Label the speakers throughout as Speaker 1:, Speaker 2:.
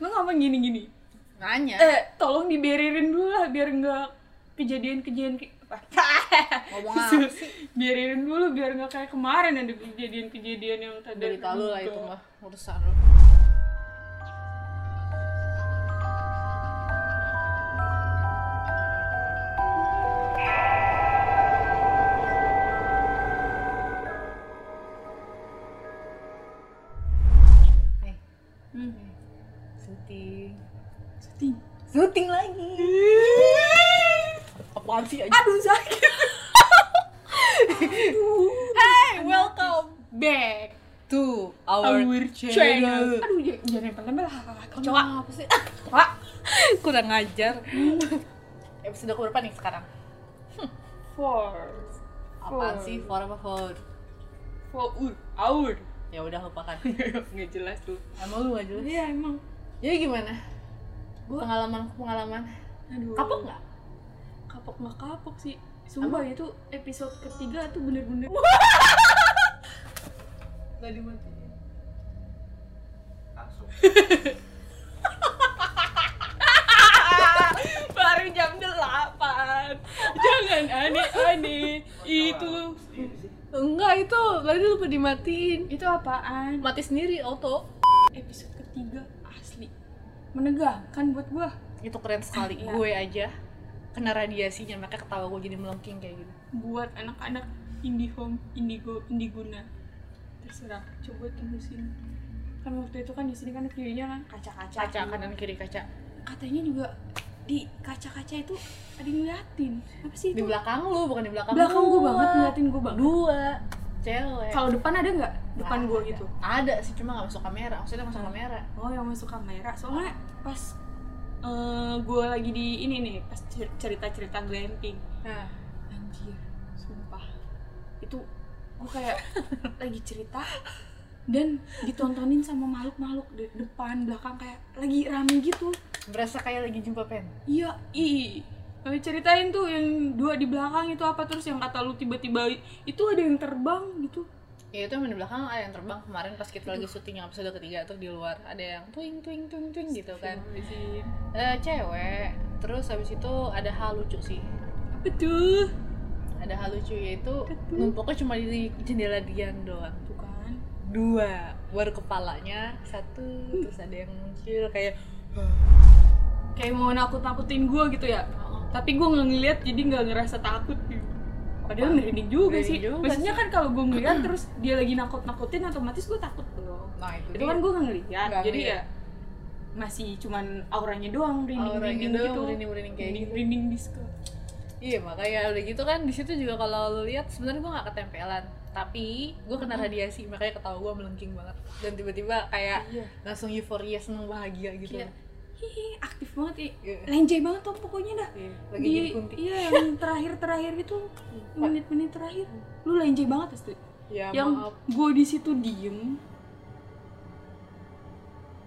Speaker 1: lu ngomong gini-gini
Speaker 2: Nanya.
Speaker 1: eh tolong diberirin dulu lah biar nggak kejadian-kejadian ke- apa
Speaker 2: Ngomong apa sih?
Speaker 1: biarin dulu biar nggak kayak kemarin ada kejadian-kejadian yang tadi
Speaker 2: Berita lu lah itu mah urusan lu. Nih,
Speaker 1: Hmm.
Speaker 2: syuting.
Speaker 1: Syuting.
Speaker 2: Syuting lagi. Apaan sih aja?
Speaker 1: aduh sakit
Speaker 2: Hey, welcome
Speaker 1: back
Speaker 2: to our,
Speaker 1: our channel aduh j- jangan yang pertama lah
Speaker 2: Coba
Speaker 1: kecoa
Speaker 2: apa sih?
Speaker 1: kecoa
Speaker 2: Kurang ajar. Episode ke berapa nih sekarang?
Speaker 1: for
Speaker 2: Apaan
Speaker 1: Four.
Speaker 2: sih? For apa for?
Speaker 1: for ur aur
Speaker 2: Ya udah lupakan.
Speaker 1: nggak jelas tuh
Speaker 2: Emang lu aja.
Speaker 1: iya emang
Speaker 2: Jadi Ya, gimana? Pengalaman pengalaman.
Speaker 1: aduh
Speaker 2: Kapok nggak?
Speaker 1: kapok nggak kapok sih sumpah itu episode ketiga tuh bener-bener
Speaker 2: Gak dimati.
Speaker 3: langsung
Speaker 1: baru jam delapan jangan aneh-aneh itu
Speaker 3: sendiri sih
Speaker 2: Enggak itu, tadi lupa dimatiin.
Speaker 1: itu apaan
Speaker 2: Mati sendiri auto.
Speaker 1: episode ketiga asli menegangkan buat gua
Speaker 2: Itu keren sekali.
Speaker 1: Iya.
Speaker 2: Gue aja kena radiasinya, maka ketawa gue jadi melengking kayak gitu.
Speaker 1: buat anak-anak IndiHome, Indigo, Indiguna terserah coba tembusin kan waktu itu kan di sini kan kirinya kan kaca-kaca
Speaker 2: Kaca kanan kiri kaca.
Speaker 1: katanya juga di kaca-kaca itu ada yang ngeliatin apa sih
Speaker 2: Di
Speaker 1: itu
Speaker 2: belakang lu, bukan di belakang.
Speaker 1: belakang gua
Speaker 2: gua.
Speaker 1: banget ngeliatin gua banget
Speaker 2: Dua cewek.
Speaker 1: kalau depan ada nggak depan
Speaker 2: Nggak
Speaker 1: gua
Speaker 2: ada.
Speaker 1: gitu
Speaker 2: Ada sih, cuma nggak masuk kamera. Maksudnya masuk kamera.
Speaker 1: oh yang masuk kamera soalnya pas eh gua lagi di ini nih pas cer- cerita-cerita glamping
Speaker 2: Nah,
Speaker 1: anjir sumpah itu gue kayak lagi cerita dan ditontonin sama makhluk-makhluk di depan belakang kayak lagi rame gitu
Speaker 2: berasa kayak lagi jumpa pen.
Speaker 1: iya i Lalu ceritain tuh yang dua di belakang itu apa terus yang kata lu tiba-tiba itu ada yang terbang gitu
Speaker 2: Ya itu yang di belakang ada yang terbang kemarin pas kita lagi syuting yang episode ketiga tuh di luar ada yang tuing tuing tuing tuing gitu kan. Eh cewek. Terus habis itu ada hal lucu sih.
Speaker 1: apa tuh
Speaker 2: Ada hal lucu yaitu numpuknya cuma di jendela Dian doang.
Speaker 1: tuh kan
Speaker 2: Dua. Baru kepalanya satu terus ada yang muncul kayak
Speaker 1: kayak mau nakut-nakutin gue gitu ya tapi gue nggak ngeliat jadi nggak ngerasa takut gitu padahal merinding juga
Speaker 2: Merinding
Speaker 1: sih
Speaker 2: juga
Speaker 1: maksudnya kan kalau gue ngeliat terus dia lagi nakut nakutin otomatis gue takut dong
Speaker 2: Nah, itu,
Speaker 1: itu kan gue nggak ngeliat
Speaker 2: Nggak
Speaker 1: jadi ya
Speaker 2: ngeliat.
Speaker 1: masih cuman auranya doang merinding
Speaker 2: Auranya
Speaker 1: merinding
Speaker 2: doang,
Speaker 1: gitu
Speaker 2: merinding-merinding kayak
Speaker 1: merinding merinding disco
Speaker 2: Iya makanya udah gitu kan di situ juga kalau lu lihat sebenarnya gue nggak ketempelan tapi gue kena radiasi makanya ketawa gue melengking banget dan tiba-tiba kayak
Speaker 1: Iya.
Speaker 2: langsung euforia seneng bahagia gitu.
Speaker 1: Kayak, hihi aktif banget ya
Speaker 2: Iya.
Speaker 1: lenjai banget tuh pokoknya dah
Speaker 2: Iya, Lagi
Speaker 1: Di-
Speaker 2: jadi kunti.
Speaker 1: iya yang terakhir terakhir itu menit-menit terakhir lu lenjai banget pasti
Speaker 2: Ya,
Speaker 1: yang
Speaker 2: maaf.
Speaker 1: gue di situ diem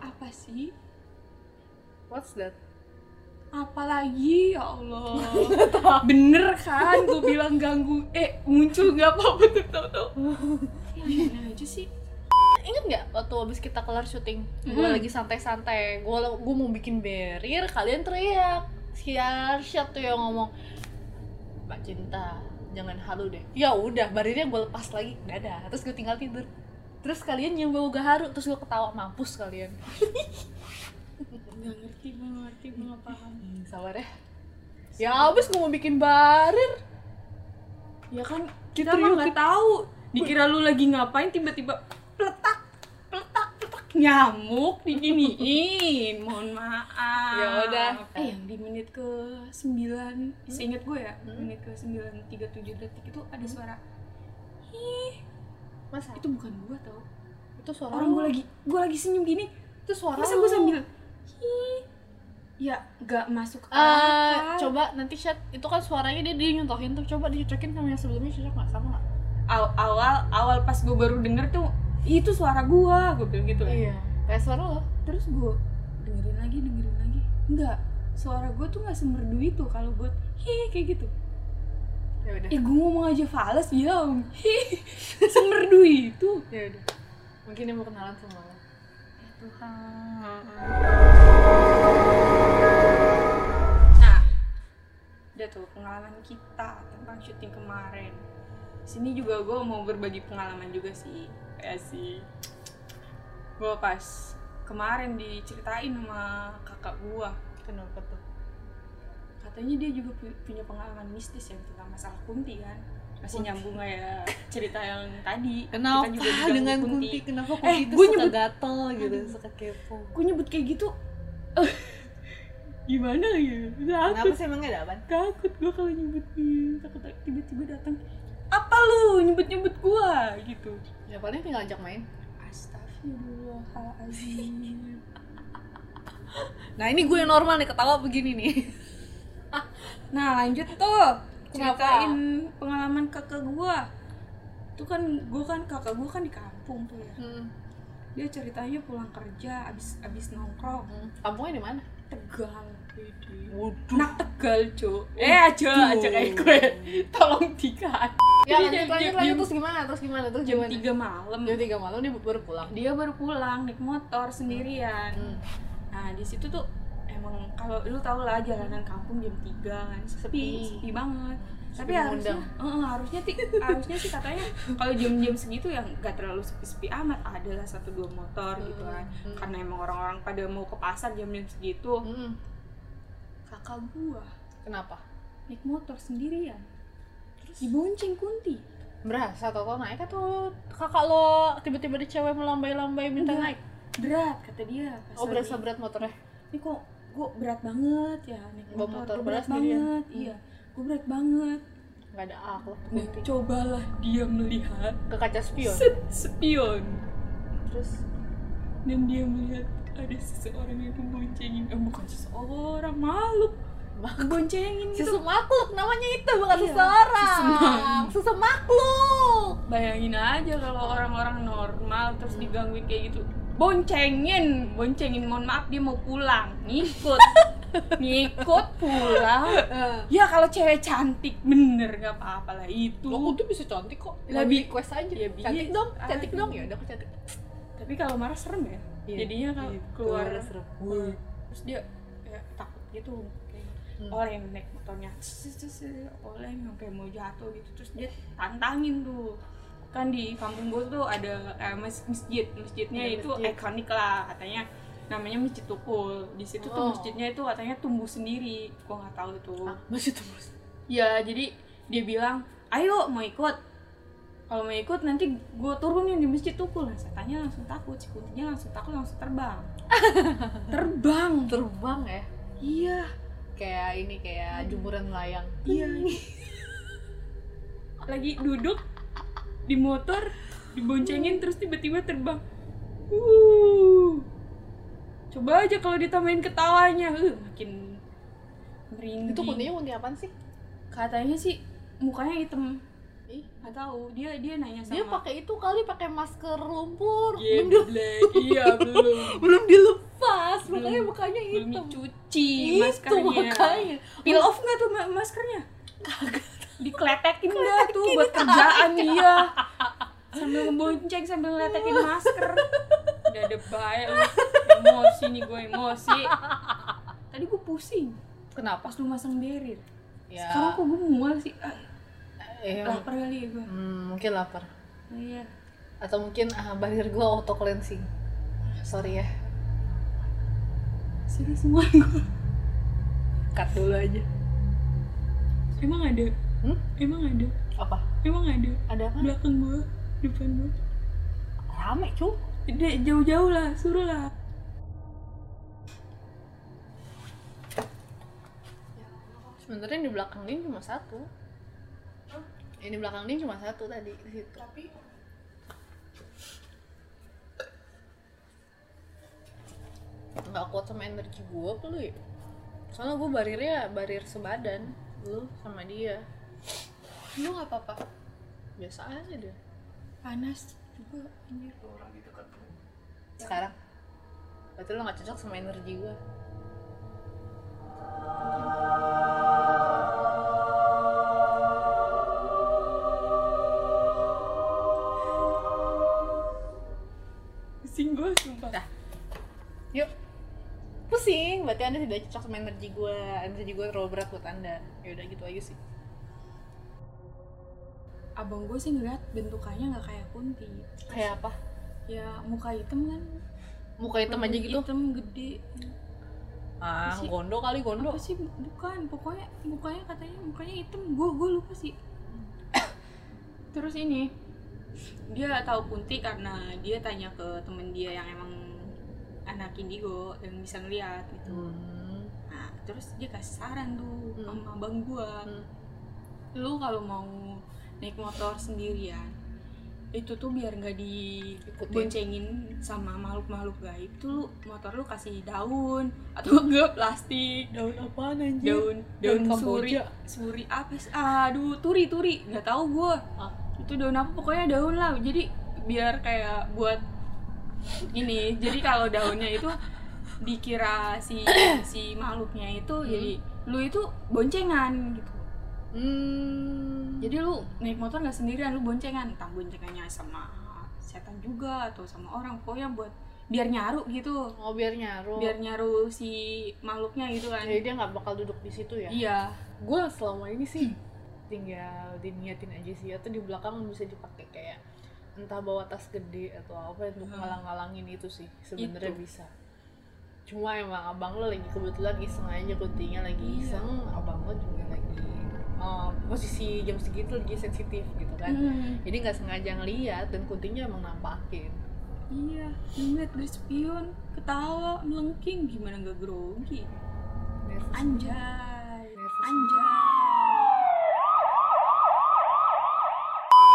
Speaker 1: apa sih
Speaker 2: What's that?
Speaker 1: apalagi ya Allah bener kan gue bilang ganggu eh muncul nggak apa-apa tuh tau tau aneh aja sih
Speaker 2: Ingat nggak waktu abis kita kelar syuting, gue
Speaker 1: Mhm.
Speaker 2: lagi santai-santai, gue gue mau bikin barrier, kalian teriak. Si Arsyad tuh yang ngomong, Mbak Cinta, jangan halu deh. Ya udah, barriernya gue lepas lagi, dadah. Terus gue tinggal tidur. Terus kalian yang bau gaharu, terus gue ketawa mampus kalian.
Speaker 1: nggak ngerti gue ngerti gue nggak paham
Speaker 2: Hmm, Sabar ya. Ya abis gue mau bikin barrier.
Speaker 1: ya kan kita
Speaker 2: Gitu,
Speaker 1: mah
Speaker 2: yuk,
Speaker 1: nggak tahu dikira lu lagi ngapain tiba-tiba peletak peletak peletak nyamuk diginiin mohon maaf
Speaker 2: Ya udah. Hmm?
Speaker 1: eh yang di menit ke 9 seingat gue ya menit ke 9.37 detik itu ada suara Ih,
Speaker 2: Masa?
Speaker 1: itu bukan gue tau
Speaker 2: Itu suara
Speaker 1: orang gue lagi gue lagi senyum gini
Speaker 2: Itu suara
Speaker 1: masa gue sambil "Hi." ya nggak masuk
Speaker 2: Eh,
Speaker 1: akal
Speaker 2: coba nanti chat itu kan suaranya dia, dia nyontohin tuh coba dicocokin sama yang sebelumnya cocok nggak sama nggak
Speaker 1: Aw- awal awal pas gue baru denger tuh "Ih, itu suara gue gue bilang gitu kan.
Speaker 2: iya kayak suara lo
Speaker 1: terus gue dengerin lagi dengerin lagi enggak suara gue tuh nggak semerdu itu kalau buat hi kayak gitu
Speaker 2: ya udah
Speaker 1: eh gue ngomong aja fales ya hi semerdu itu
Speaker 2: ya udah mungkin dia mau kenalan sama lo
Speaker 1: Tuhan Nah, sini juga gue mau berbagi pengalaman juga sih kayak sih gue pas kemarin diceritain sama kakak gue
Speaker 2: Kenapa tuh?
Speaker 1: katanya dia juga pu- punya pengalaman mistis yang tentang masalah kunti kan masih
Speaker 2: Kunti.
Speaker 1: nyambung ya cerita yang tadi
Speaker 2: Kenapa
Speaker 1: kita juga diganggu
Speaker 2: dengan kunti? Kenapa kunti
Speaker 1: Eh,
Speaker 2: itu
Speaker 1: gua
Speaker 2: suka
Speaker 1: nyebut-
Speaker 2: gatel gitu,
Speaker 1: Aduh.
Speaker 2: suka kepo?
Speaker 1: gue nyebut kayak gitu gimana ya
Speaker 2: Kenapa
Speaker 1: takut
Speaker 2: sih emangnya ada apaan?
Speaker 1: takut gue kalau nyebutin takut tiba-tiba datang apa lu nyebut-nyebut gue gitu
Speaker 2: Ya paling tinggal ajak main.
Speaker 1: Astagfirullahaladzim
Speaker 2: Nah ini gue yang normal nih ketawa begini nih.
Speaker 1: Nah lanjut tuh
Speaker 2: Kenapa?
Speaker 1: Ceritain pengalaman kakak gua Itu kan gua kan kakak gua kan di kampung tuh ya
Speaker 2: Hmm.
Speaker 1: Dia ceritanya pulang kerja abis, abis nongkrong
Speaker 2: hmm. Kampungnya di mana?
Speaker 1: Tegal Wede.
Speaker 2: Waduh.
Speaker 1: Anak Tegal cu Eh aja aja kayak gue Tolong tiga
Speaker 2: Ya
Speaker 1: Jadi jam- jam-
Speaker 2: lanjut lanjut lanjut
Speaker 1: jam-
Speaker 2: terus gimana? Terus gimana? Terus
Speaker 1: Jam
Speaker 2: gimana?
Speaker 1: 3 malam
Speaker 2: Jam tiga malam dia baru pulang.
Speaker 1: Dia baru pulang naik motor sendirian
Speaker 2: Hmm.
Speaker 1: Nah di situ tuh emang kalau lu tau lah jalanan kampung jam 3 kan sepi
Speaker 2: Sepi.
Speaker 1: sepi banget tapi
Speaker 2: Sebelum
Speaker 1: harusnya
Speaker 2: undang.
Speaker 1: eh, harusnya ti- harusnya sih katanya kalau jam-jam segitu ya nggak terlalu sepi-sepi amat adalah satu dua motor gitu kan
Speaker 2: Hmm.
Speaker 1: karena emang orang-orang pada mau ke pasar jam-jam segitu
Speaker 2: Hmm.
Speaker 1: kakak gua
Speaker 2: Kenapa?
Speaker 1: naik motor sendirian terus dibonceng kunti
Speaker 2: Berasa tau-tau naik atau kakak lo tiba-tiba di cewek melambai-lambai minta
Speaker 1: Enggak.
Speaker 2: naik?
Speaker 1: berat kata dia pas
Speaker 2: Oh
Speaker 1: lagi,
Speaker 2: berasa berat motornya?
Speaker 1: ini kok gua berat banget ya naik
Speaker 2: Bawa
Speaker 1: motor,
Speaker 2: motor
Speaker 1: gua
Speaker 2: berat
Speaker 1: berat
Speaker 2: sendirian."
Speaker 1: banget
Speaker 2: Hmm.
Speaker 1: iya gua berat banget
Speaker 2: Gak ada ah, aku
Speaker 1: Nah, cobalah dia melihat
Speaker 2: ke kaca spion.
Speaker 1: set spion
Speaker 2: Terus
Speaker 1: dan dia melihat ada seseorang yang memboncengin eh, bukan seseorang makhluk memboncengin gitu
Speaker 2: Susu makhluk namanya itu bukan
Speaker 1: Iya,
Speaker 2: seseorang.
Speaker 1: sesemak.
Speaker 2: Susu makhluk.
Speaker 1: bayangin aja kalau
Speaker 2: Oh.
Speaker 1: orang-orang normal
Speaker 2: Hmm.
Speaker 1: terus digangguin kayak gitu boncengin boncengin mohon maaf dia mau pulang ngikut ngikut pulang
Speaker 2: Eh,
Speaker 1: ya kalau cewek cantik bener nggak apa-apa lah itu
Speaker 2: Lo tuh Iya, bisa cantik kok.
Speaker 1: Lebih-
Speaker 2: Lebih request aja.
Speaker 1: Ya,
Speaker 2: cantik
Speaker 1: biasa
Speaker 2: dong, cantik
Speaker 1: aja.
Speaker 2: dong ya udah aku cantik.
Speaker 1: tapi kalau marah serem ya
Speaker 2: Iya.
Speaker 1: jadinya kalau keluar Hmm.
Speaker 2: Wih.
Speaker 1: terus dia kayak takut gitu kayak
Speaker 2: Iya. Hmm.
Speaker 1: oleh yang naik motornya "Sis, sis, sis," oleh yang kayak mau jatuh gitu terus dia tantangin tuh kan di kampung gue tuh ada eh, mas- masjid masjidnya
Speaker 2: Ada
Speaker 1: itu
Speaker 2: Iya, masjid.
Speaker 1: ikonik lah katanya namanya masjid tukul di situ tuh
Speaker 2: Oh.
Speaker 1: masjidnya itu katanya tumbuh sendiri gue nggak tahu itu
Speaker 2: Ah, masih terus.
Speaker 1: ya jadi dia bilang ayo mau ikut kalau mau ikut nanti gue turunin di masjid tukul nah setannya langsung takut si kuntinya langsung takut langsung terbang terbang
Speaker 2: Terbang ya.
Speaker 1: iya
Speaker 2: Kayak ini kayak jumuran layang.
Speaker 1: iya lagi duduk di motor diboncengin terus tiba-tiba terbang Wuh. coba aja kalau ditambahin ketawanya uh, makin merinding
Speaker 2: Itu kuntinya kunti apaan sih?
Speaker 1: katanya sih mukanya hitam
Speaker 2: Ih.
Speaker 1: nggak tahu dia dia nanya sama
Speaker 2: Dia pakai itu kali pakai masker lumpur. Belum di-
Speaker 1: Geblek, iya belum
Speaker 2: belum dilepas, makanya
Speaker 1: Belum-
Speaker 2: mukanya
Speaker 1: belum
Speaker 2: hitam.
Speaker 1: dicuci
Speaker 2: Itu
Speaker 1: maskernya
Speaker 2: makanya.
Speaker 1: peel off nggak tuh ma- maskernya dikletekin nggak tuh buat kerjaan dia sambil ngebonceng sambil ngeletekin masker udah ada baik lu. emosi nih gue emosi tadi gue pusing
Speaker 2: Kenapa?
Speaker 1: pas lu masang barrier
Speaker 2: Ya.
Speaker 1: sekarang kok gue mual sih ah,
Speaker 2: eh,
Speaker 1: lapar kali ya gue
Speaker 2: hmm, mungkin lapar.
Speaker 1: iya
Speaker 2: atau mungkin ah, barrier gue auto cleansing sorry ya
Speaker 1: sini semua gue
Speaker 2: cut dulu aja
Speaker 1: emang ada
Speaker 2: Hmm?
Speaker 1: emang ada
Speaker 2: apa
Speaker 1: emang ada
Speaker 2: ada apa
Speaker 1: belakang gue depan gue
Speaker 2: rame cu
Speaker 1: Dek, jauh-jauh lah, suruh lah.
Speaker 2: sebenarnya di belakang dia cuma satu ini di belakang dia cuma satu tadi di situ tapi nggak kuat sama energi gue lu ya soalnya gue barirnya barir sebadan lu sama dia lu nggak apa-apa biasa aja deh
Speaker 1: Panas juga anjir.
Speaker 2: sekarang berarti lo gak cocok sama energi gue
Speaker 1: Pusing gue sumpah.
Speaker 2: Dah. yuk pusing berarti anda tidak cocok sama energi gue energi gue terlalu berat buat anda ya udah gitu aja sih
Speaker 1: abang gue sih ngeliat bentukannya nggak kayak kunti
Speaker 2: kayak apa
Speaker 1: ya muka hitam kan
Speaker 2: muka hitam aja gitu
Speaker 1: hitam gede
Speaker 2: ah
Speaker 1: Apa sih?
Speaker 2: gondo kali gondo
Speaker 1: apa sih bukan pokoknya mukanya katanya mukanya hitam gue gue lupa sih terus ini dia tahu kunti karena dia tanya ke temen dia yang emang anak indigo yang bisa ngeliat gitu
Speaker 2: Hmm.
Speaker 1: Nah, terus dia kasih saran tuh
Speaker 2: Hmm.
Speaker 1: sama abang gua.
Speaker 2: Hmm.
Speaker 1: Lu kalau mau naik motor sendirian, itu tuh biar nggak diboncengin sama makhluk-makhluk gaib tuh lu motor lu kasih daun atau enggak plastik
Speaker 2: daun apaan anjir
Speaker 1: daun daun,
Speaker 2: Iya, Daun
Speaker 1: suri
Speaker 2: Kamboja.
Speaker 1: suri apa sih aduh turi turi nggak tahu gua
Speaker 2: Ah.
Speaker 1: itu daun apa pokoknya daun lah jadi biar kayak buat ini jadi kalau daunnya itu dikira si si makhluknya itu
Speaker 2: Hmm.
Speaker 1: jadi lu itu boncengan gitu
Speaker 2: Hmm.
Speaker 1: jadi lu naik motor nggak sendirian lu boncengan entah boncengannya sama setan juga atau sama orang pokoknya buat biar nyaru gitu
Speaker 2: oh biar nyaru.
Speaker 1: biar nyaru si makhluknya gitu kan
Speaker 2: Jadi dia nggak bakal duduk di situ ya.
Speaker 1: iya
Speaker 2: Gue selama ini sih tinggal diniatin aja sih atau di belakang bisa dipakai kayak entah bawa tas gede atau apa untuk
Speaker 1: Hmm.
Speaker 2: ngalang-ngalangin itu sih sebenarnya
Speaker 1: Itu.
Speaker 2: bisa. Cuma emang abang lo lagi kebetulan iseng aja kuntinya lagi
Speaker 1: Iya.
Speaker 2: iseng, abang lo juga lagi eh, posisi jam segitu lagi sensitif gitu kan.
Speaker 1: Hmm.
Speaker 2: Jadi nggak sengaja ngeliat dan kuntinya emang nampakin.
Speaker 1: Iya, ngeliat dari spion, ketawa, melengking, gimana nggak grogi?
Speaker 2: Nervous.
Speaker 1: Anjay,
Speaker 2: Nervous.
Speaker 1: anjay.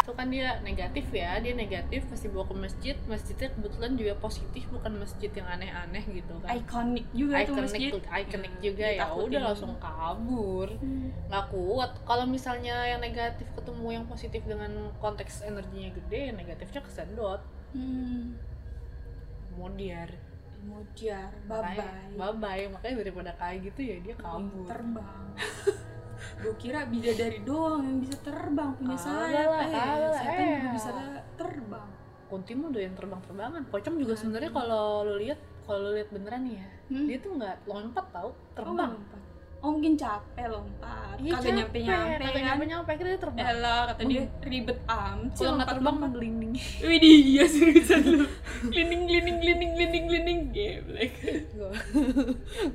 Speaker 2: itu kan dia negatif ya dia negatif pasti bawa ke masjid masjidnya kebetulan juga positif bukan masjid yang aneh-aneh gitu kan
Speaker 1: Ikonik juga tuh masjid. Hmm,
Speaker 2: ikonik ikonik juga ya
Speaker 1: Ditakutin.
Speaker 2: udah langsung kabur
Speaker 1: Hmm.
Speaker 2: nggak kuat kalau misalnya yang negatif ketemu yang positif dengan konteks energinya gede yang negatifnya kesendot
Speaker 1: Hmm.
Speaker 2: modiar
Speaker 1: Mutiar,
Speaker 2: Makanya-
Speaker 1: babai,
Speaker 2: bye-bye makanya daripada kayak gitu ya dia kabur
Speaker 1: terbang. Gue kira bidadari doang yang bisa terbang punya
Speaker 2: Kagak
Speaker 1: sayap.
Speaker 2: lah, kagak
Speaker 1: Eh,
Speaker 2: lah,
Speaker 1: setan juga
Speaker 2: eh.
Speaker 1: bisa terbang.
Speaker 2: kunti mah udah yang terbang-terbangan pocong juga
Speaker 1: Hmm.
Speaker 2: sebenarnya kalau lo lihat kalau lo lihat beneran ya
Speaker 1: Hmm.
Speaker 2: dia tuh nggak lompat tau terbang
Speaker 1: Oh, lompat. Oh, mungkin capek lompat. kagak nyampe-nyampe
Speaker 2: Iya, kagak
Speaker 1: kan.
Speaker 2: nyampe nyampe akhirnya dia terbang
Speaker 1: Elah, kata dia ribet amat sih
Speaker 2: kalau nggak
Speaker 1: lompat-lompat.
Speaker 2: terbang mah gelinding
Speaker 1: Widih, iya seriusan lu. Glinding, glinding, glinding, glinding, glinding. Geblek.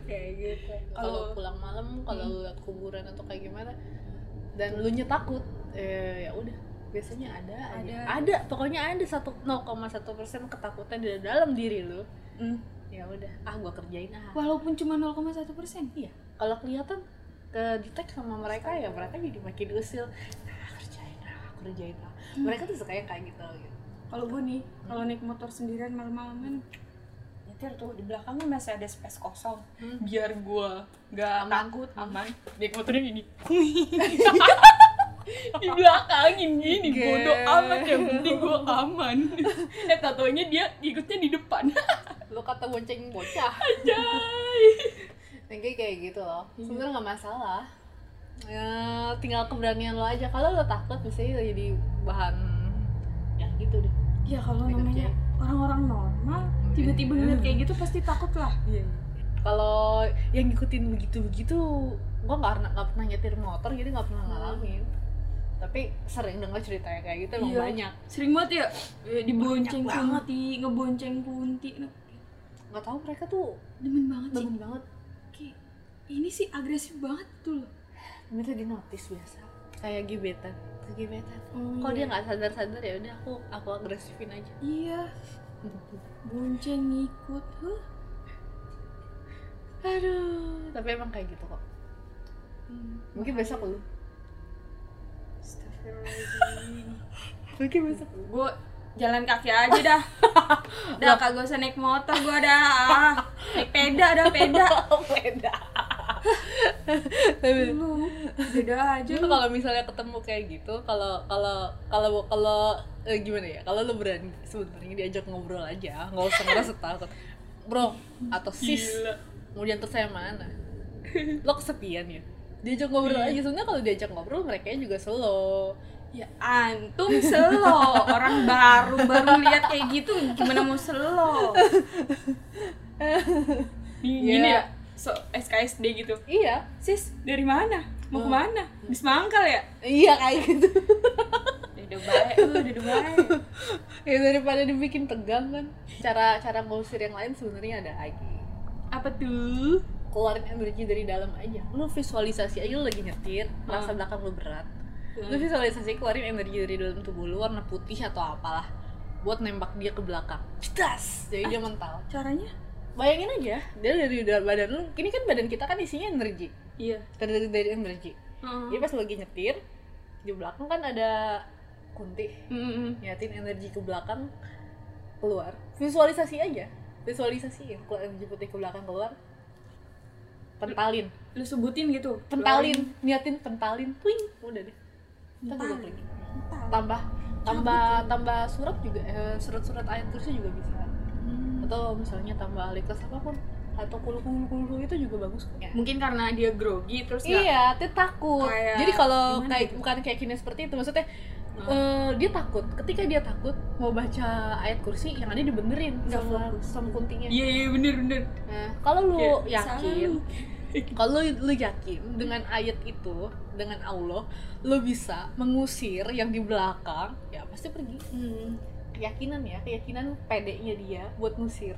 Speaker 2: kayak gitu
Speaker 1: Kalau-
Speaker 2: kalau Hmm. pulang malam kalau lu lihat kuburan atau kayak gimana dan lu nya takut eh ya udah biasanya ada ada
Speaker 1: Ada.
Speaker 2: ada pokoknya ada satu 0,1 persen ketakutan di dalam diri lu ya udah ah gua kerjain ah
Speaker 1: Walaupun cuma 0,1 persen. Iya.
Speaker 2: kalau kelihatan ke detect sama mereka ya mereka jadi makin usil ah kerjain ah kerjain ah mereka tuh suka yang kayak gitu gitu
Speaker 1: Kalau gue nih, kalau
Speaker 2: Hmm.
Speaker 1: naik motor sendirian kan, malam-malaman, nyetir tuh di belakangnya masih ada space kosong.
Speaker 2: Hmm.
Speaker 1: Biar gue nggak
Speaker 2: Aman.
Speaker 1: takut, aman. Naik motornya gini. di belakangin gini bodoh amat yang penting gue aman eh tatonya dia ikutnya di depan Ya.
Speaker 2: lu kata bonceng bocah
Speaker 1: Anjay.
Speaker 2: Yang kayak kayak gitu loh
Speaker 1: Iya.
Speaker 2: sebenarnya nggak masalah ya, tinggal keberanian lo aja kalau lo takut misalnya jadi bahan ya gitu deh
Speaker 1: ya kalau
Speaker 2: Nggak
Speaker 1: namanya orang-orang normal tiba-tiba ngeliat kayak gitu pasti takut lah
Speaker 2: kalau yang ngikutin begitu begitu gua nggak pernah nggak pernah nyetir motor jadi nggak pernah ngalamin tapi sering dengar ceritanya kayak gitu emang
Speaker 1: Iya.
Speaker 2: banyak
Speaker 1: sering banget ya eh, dibonceng
Speaker 2: Banyak banget.
Speaker 1: kunti ngebonceng kunti Nah,
Speaker 2: nggak tahu mereka tuh
Speaker 1: demen banget sih
Speaker 2: demen banget
Speaker 1: Kayak, ini sih agresif banget tuh loh
Speaker 2: minta di notice biasa kayak gebetan Ke gebetan kok dia nggak sadar sadar ya udah aku aku agresifin aja
Speaker 1: iya bonceng ngikut huh?
Speaker 2: aduh tapi emang kayak gitu kok
Speaker 1: Hmm.
Speaker 2: mungkin besok lu mungkin besok
Speaker 1: gue jalan kaki aja dah dah kagak usah naik motor gue dah Ah, naik peda dah peda
Speaker 2: beda tapi
Speaker 1: lu beda aja
Speaker 2: Jadi
Speaker 1: lu
Speaker 2: kalau misalnya ketemu kayak gitu, kalau kalau kalau kalau eh, gimana ya? Kalau lu berani sebenarnya diajak ngobrol aja, nggak usah ngerasa takut. Bro atau sis,
Speaker 1: Gila.
Speaker 2: mau diantar saya mana? Lo kesepian ya? Diajak ngobrol aja sebenarnya kalau diajak ngobrol mereka juga slow.
Speaker 1: ya antum selo orang baru baru lihat kayak gitu gimana mau selo gini
Speaker 2: Iya.
Speaker 1: ya so SKSD gitu
Speaker 2: Iya,
Speaker 1: Oh. sis dari mana mau kemana bis mangkal ya
Speaker 2: iya kayak gitu.
Speaker 1: ya Dada baik lu, dada baik.
Speaker 2: ya daripada dibikin tegang kan cara cara ngusir yang lain sebenarnya ada lagi
Speaker 1: Apa tuh?
Speaker 2: keluarin energi dari dalam aja lu visualisasi aja lu lagi nyetir merasa
Speaker 1: Hmm.
Speaker 2: belakang lu berat lu visualisasi keluarin energi dari dalam tubuh lu warna putih atau apalah buat nembak dia ke belakang Cedas! jadi dia mental
Speaker 1: Caranya?
Speaker 2: bayangin aja dia dari dalam badan lu ini kan badan kita kan isinya energi
Speaker 1: Iya.
Speaker 2: terdiri dari energi
Speaker 1: Heeh.
Speaker 2: jadi pas lagi nyetir di belakang kan ada kunti
Speaker 1: Mm-mm.
Speaker 2: niatin energi ke belakang keluar visualisasi aja visualisasi keluar energi putih ke belakang keluar pentalin
Speaker 1: Lu sebutin gitu.
Speaker 2: pentalin niatin pentalin twing udah deh Ntar juga
Speaker 1: Pentalin.
Speaker 2: klik.
Speaker 1: Pentalin.
Speaker 2: tambah tambah tambah surat juga eh, surat-surat ayat kursi juga bisa atau misalnya tambah alikas apapun atau kulu kulu kulu itu juga bagus kok
Speaker 1: Mungkin karena dia grogi terus nggak-
Speaker 2: Iya, dia takut.
Speaker 1: Iya. Kayak-
Speaker 2: Jadi kalau
Speaker 1: gimana
Speaker 2: kayak
Speaker 1: gitu?
Speaker 2: bukan kayak kini seperti itu, maksudnya
Speaker 1: Hmm.
Speaker 2: eh, dia takut. Ketika dia takut mau baca ayat kursi, yang ada dibenerin
Speaker 1: Nggak
Speaker 2: sama
Speaker 1: fokus.
Speaker 2: sama kuntinya.
Speaker 1: Iya, iya bener bener.
Speaker 2: Nah, kalau lu
Speaker 1: Iya,
Speaker 2: yakin,
Speaker 1: salah
Speaker 2: kalau lu, lu yakin dengan ayat itu, dengan Allah, lu bisa mengusir yang di belakang, ya pasti pergi.
Speaker 1: Hmm.
Speaker 2: Keyakinan ya, keyakinan pedenya dia buat ngusir.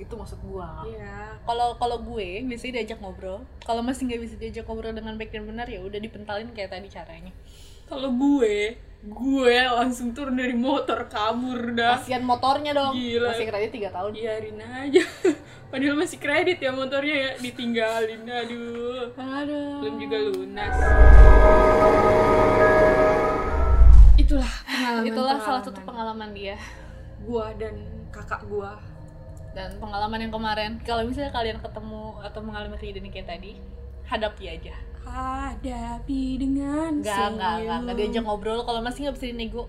Speaker 2: Gitu maksud gua
Speaker 1: Iya.
Speaker 2: kalau kalau gue biasanya diajak ngobrol kalau masih nggak bisa diajak ngobrol dengan baik dan benar ya udah dipentalin kayak tadi caranya
Speaker 1: Kalau gue, gue langsung turun dari motor kabur dah.
Speaker 2: kasihan motornya dong
Speaker 1: Gila.
Speaker 2: masih kerja tiga tahun
Speaker 1: biarin aja padahal masih kredit ya motornya ya ditinggalin aduh
Speaker 2: aduh
Speaker 1: belum juga lunas itulah pengalaman
Speaker 2: itulah salah satu pengalaman dia
Speaker 1: gua dan kakak gua
Speaker 2: dan pengalaman yang kemarin kalau misalnya kalian ketemu atau mengalami kejadian kayak tadi hadapi aja
Speaker 1: hadapi dengan
Speaker 2: nggak nggak nggak nggak diajak
Speaker 1: serius.
Speaker 2: ngobrol kalau masih nggak bisa dinego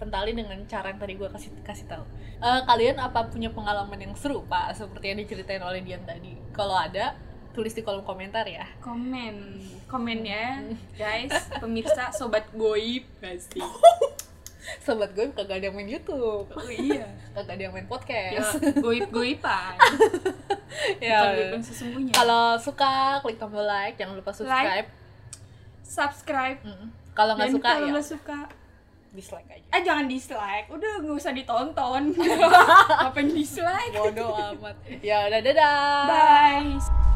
Speaker 2: pentalin dengan cara yang tadi gue kasih kasih tahu Eh, kalian apa punya pengalaman yang seru pak seperti yang diceritain oleh Dian tadi kalau ada tulis di kolom komentar ya
Speaker 1: komen komen ya guys pemirsa sobat goib pasti
Speaker 2: sobat gue kagak ada yang main YouTube
Speaker 1: oh iya
Speaker 2: kagak ada yang main
Speaker 1: ya
Speaker 2: podcast
Speaker 1: goib goiban
Speaker 2: ya
Speaker 1: bukan goib yang sesungguhnya
Speaker 2: kalau suka klik tombol like jangan lupa subscribe
Speaker 1: subscribe
Speaker 2: Mm. kalau nggak
Speaker 1: Dan
Speaker 2: suka
Speaker 1: kalau
Speaker 2: ya
Speaker 1: nggak suka
Speaker 2: dislike aja
Speaker 1: Ah jangan dislike, udah nggak usah ditonton. Apa yang dislike?
Speaker 2: bodoh amat ya udah dadah
Speaker 1: Bye.